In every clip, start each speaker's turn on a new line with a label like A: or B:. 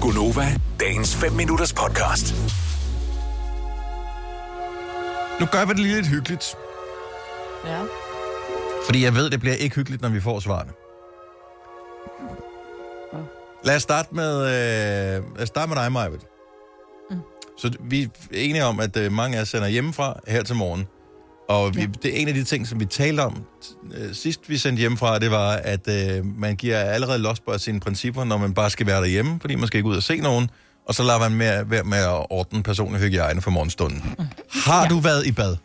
A: Gunova, dagens 5 minutters podcast.
B: Nu gør vi det lige lidt hyggeligt,
C: Ja.
B: fordi jeg ved, det bliver ikke hyggeligt, når vi får svarene. Lad os starte med, øh, lad os starte med dig, Majved. Så vi er enige om, at øh, mange af os sender hjemmefra her til morgen. Og vi, det er en af de ting, som vi talte om øh, sidst, vi sendte hjemmefra, det var, at øh, man giver allerede los på sine principper, når man bare skal være derhjemme, fordi man skal ikke ud og se nogen. Og så lader man med, være med at ordne personlig hygiejne for morgenstunden. Har du været i bad?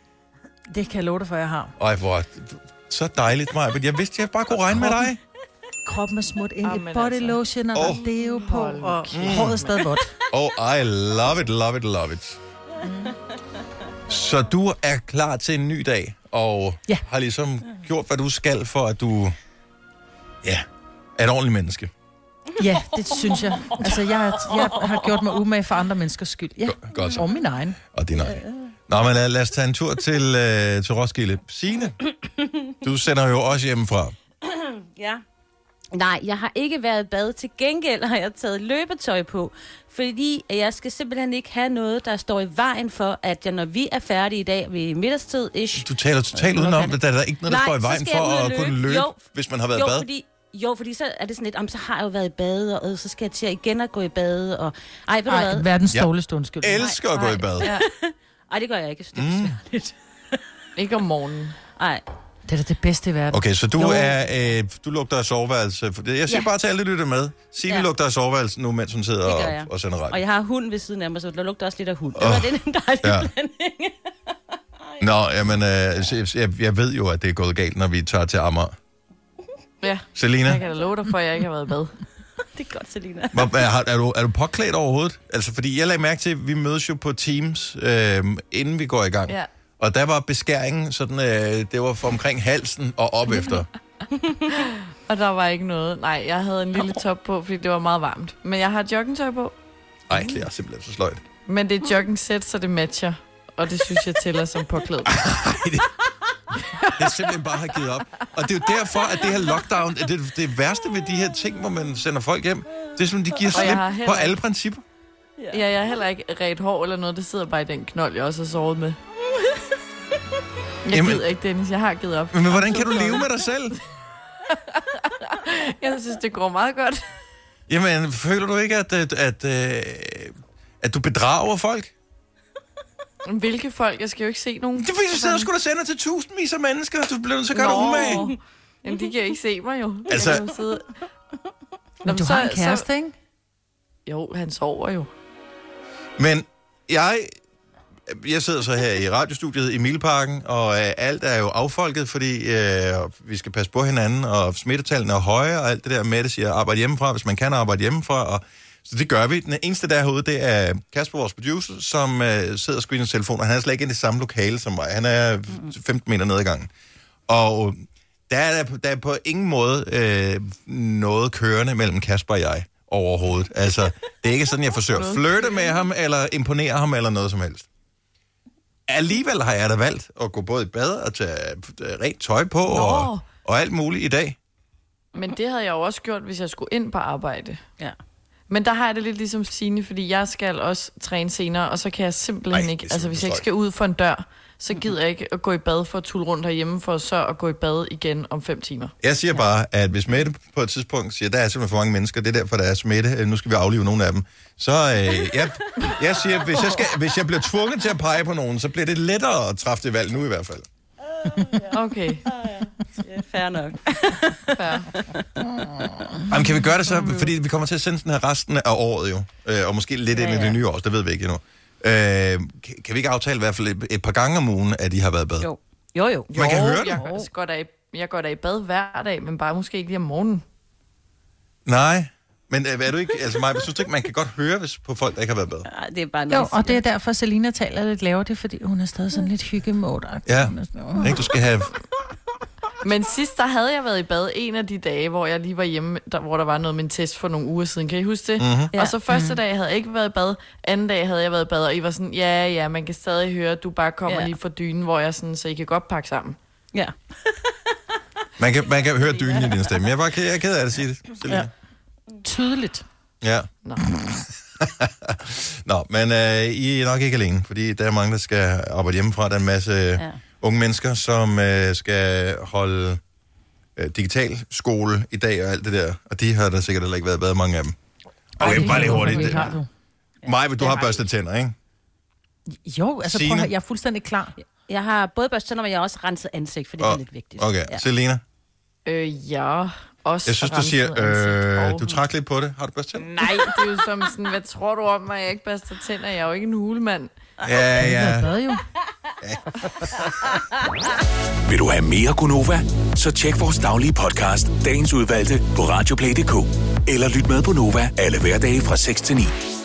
C: Det kan jeg love dig for, jeg har.
B: Ej, hvor så dejligt, Maja. Men jeg vidste, jeg bare kunne regne med dig.
C: Kroppen er smurt ind i
D: Jamen
C: body
D: altså.
C: lotion, og der
B: Åh.
C: er deo på, og håret er stadig vådt.
B: Oh, I love it, love it, love it. Så du er klar til en ny dag, og
C: Ja.
B: har ligesom gjort, hvad du skal, for at du ja, er et ordentligt menneske.
C: Ja, det synes jeg. Altså, jeg, jeg har gjort mig umage for andre menneskers skyld. Ja,
B: godt så.
C: og min egen.
B: Og din egen. Nå, men lad, lad os tage en tur til, øh, til Roskilde. Signe, du sender jo også hjemmefra.
D: Ja. Nej, jeg har ikke været i bad. Til gengæld har jeg taget løbetøj på, fordi at jeg skal simpelthen ikke have noget, der står i vejen for, at jeg, når vi er færdige i dag ved middagstid, ish,
B: Du taler totalt udenom, at der er ikke noget, der
D: Nej,
B: står i
D: så
B: vejen
D: skal jeg
B: for
D: ud og
B: at
D: løbe.
B: kunne løbe,
D: Jo.
B: hvis man har været i
D: jo,
B: bad.
D: Fordi, jo, fordi så er det sådan lidt, om så har jeg jo været i bad, og øh, så skal jeg til at igen at gå i bad, og... Ej, ved du
C: Ej,
D: hvad?
C: verdens
B: Ja.
C: dårligste undskyld.
B: Elsker at gå i bad.
D: Ej, det gør jeg ikke, så det er
B: Mm.
D: besværligt.
E: Ikke om morgenen.
D: Ej,
C: Det er da det bedste i verden.
B: Okay, så du,
C: Jo.
B: er, øh, du lugter af soveværelse. For det- Jeg siger ja.
D: Ja.
B: bare til alle, der lytter med. Sig, ja.
D: Ja.
B: lugter af soveværelse nu, mens hun sidder
D: det gør jeg.
B: og, og sender radio.
D: og jeg har hund ved siden af mig, så der lugter også lidt af hund. Oh. Det er en dejlig
B: Ja.
D: ja. blanding.
B: Nå, jamen, øh, så- jeg, jeg ved jo, at det er gået galt, når vi tager til Amager.
E: Ja. Jeg
B: Selina,
E: kan da love dig for, at jeg ikke har været i bad.
D: Det er godt, Selina.
B: hvor, er, har- er, du, er du påklædt overhovedet? Altså, fordi jeg lagde mærke til, at vi mødes jo på Teams, øh, inden vi går i gang.
E: Ja.
B: Og der var beskæringen sådan, øh, det var for omkring halsen og op efter.
E: Og der var ikke noget. Nej, jeg havde en lille top på, fordi det var meget varmt. Men jeg har joggingtøj på.
B: Ej, det er simpelthen så sløjt.
E: Men det er joggingsæt, så det matcher. Og det synes jeg tæller som påklædt.
B: jeg simpelthen bare har givet op. Og det er jo derfor, at det her lockdown, det, er det værste ved de her ting, hvor man sender folk hjem, det er som, de giver
E: Og jeg
B: slip
E: har heller
B: på
E: ikke-
B: alle principper.
E: Ja, jeg har heller ikke ret hår eller noget. Det sidder bare i den knold, jeg også har sovet med. Jeg
B: Jamen-
E: gider ikke, Dennis. Jeg har givet op.
B: Men hvordan kan du leve med dig selv?
E: Jeg synes, det går meget godt.
B: Jamen, føler du ikke, at, at, at, øh, at du bedrager folk?
E: Hvilke folk? Jeg skal jo ikke se nogen.
B: Det er fordi, du sidder og skulle sende til tusindvis af mennesker, og du bliver nødt til at gøre dig
E: Nå.
B: umage.
E: Jamen, de kan ikke se mig jo. Jeg
B: Altså-
E: kan jo sidde-
C: Men du
E: så-
C: har en
E: så-
C: kæreste, ikke?
E: Jo, han sover jo.
B: Men jeg, jeg sidder så her i radiostudiet i Milparken, og øh, alt er jo affolket, fordi øh, vi skal passe på hinanden, og smittetallene er høje, og alt det der med det siger, arbejde hjemmefra, hvis man kan arbejde hjemmefra, og så det gør vi. Den eneste, der er herude, det er Kasper, vores producer, som øh, sidder og screener sin telefon, og han er slet ikke i det samme lokale som mig. Han er 15 meter nede ad gangen. Og øh, der er, der er på ingen måde øh, noget kørende mellem Kasper og jeg overhovedet. Altså, det er ikke sådan, jeg forsøger at flirte med ham, eller imponere ham, eller noget som helst. Alligevel har jeg da valgt at gå både i bad og tage øh, rent tøj på, og, og alt muligt i dag.
E: Men det havde jeg jo også gjort, hvis jeg skulle ind på arbejde.
D: Ja.
E: Men der har jeg det lidt ligesom Signe, fordi jeg skal også træne senere, og så kan jeg simpelthen
B: Ej,
E: Ej,
B: det
E: ikke,
B: er
E: altså
B: simpelthen Mhm.
E: hvis jeg ikke
B: sløjt.
E: skal ud for en dør, så gider jeg ikke at gå i bad for at tulle rundt herhjemme, for så at gå i bad igen om fem timer.
B: Jeg siger bare, at hvis Mette på et tidspunkt siger, der er simpelthen for mange mennesker, det er derfor, der er smitte, øh, nu skal vi aflive nogle af dem, så øh, jeg, jeg siger, hvis jeg, skal, hvis jeg bliver tvunget til at pege på nogen, så bliver det lettere at træffe det valg nu i hvert fald.
E: Okay,
D: Ja, fair nok.
E: fair.
B: Jamen, kan vi gøre det så? Fordi vi kommer til at sende den her resten af året jo, øh, og måske lidt ja, ind i det nye år, så det ved vi ikke endnu. Øh, kan- kan vi ikke aftale i hvert fald et, et par gange om ugen, at I har været i bad?
D: Jo. Jo, jo.
B: Man kan høre det.
E: Jeg, altså, går der i, jeg går da i bad hver dag, men bare måske ikke lige om morgenen.
B: Nej, men øh, er du ikke, altså mig, jeg synes du ikke, man kan godt høre hvis på folk, der ikke har været i bad.
D: Ej, det er bare
C: Jo,
D: nice.
C: og det er derfor, Selina taler lidt lavere. Det er, fordi hun er stadig sådan lidt hyggemål.
B: Ja. Ikke, du skal have...
E: Men sidst, der havde jeg været i bad en af de dage, hvor jeg lige var hjemme, der, hvor der var noget med en test for nogle uger siden. Kan I huske det?
B: Mhm.
E: Mm-hmm. Og så første dag havde jeg ikke været i bad, anden dag havde jeg været i bad, og I var sådan, ja, ja, man kan stadig høre, at du bare kommer
D: Ja.
E: lige fra dynen, hvor jeg sådan, så I kan godt pakke sammen.
D: Ja.
B: Man kan, man kan høre dynen i din stemme. Jeg er, bare, ked- jeg er ked af det, sige det. Selina.
C: Tydeligt.
B: Ja.
E: Nå.
B: Nå, men øh, I er nok ikke alene, fordi der er mange, der skal arbejde hjemmefra. Der er en masse ja. unge mennesker, som øh, skal holde øh, digital skole i dag og alt det der. Og de har der sikkert heller ikke været bad, mange af dem. Okay, bare lige hurtigt. Maja, du har børstet tænder, ikke?
C: Jo, altså prøv
B: Signe?
C: at høre, jeg er fuldstændig klar.
D: Jeg har både børstet tænder, men jeg har også renset ansigt, for det er
B: Og-
D: lidt vigtigt.
B: Okay,
D: Ja.
B: Selena,
E: Øh, ja, også
B: jeg synes, du
E: renset
B: siger,
E: ansigt.
B: øh,
E: Åh,
B: du trak lidt på det. Har du børstet tænder?
E: Nej, det er jo som sådan, hvad tror du om mig, jeg ikke børster tænder? Jeg er jo ikke en hulemand.
B: Ja,
C: Jeg
B: ja.
C: bad jo.
A: Vil du have mere Gunova? Så tjek vores daglige podcast, dagens udvalgte, på radioplay.dk. Eller lyt med på Nova alle hverdage fra 6 til 9.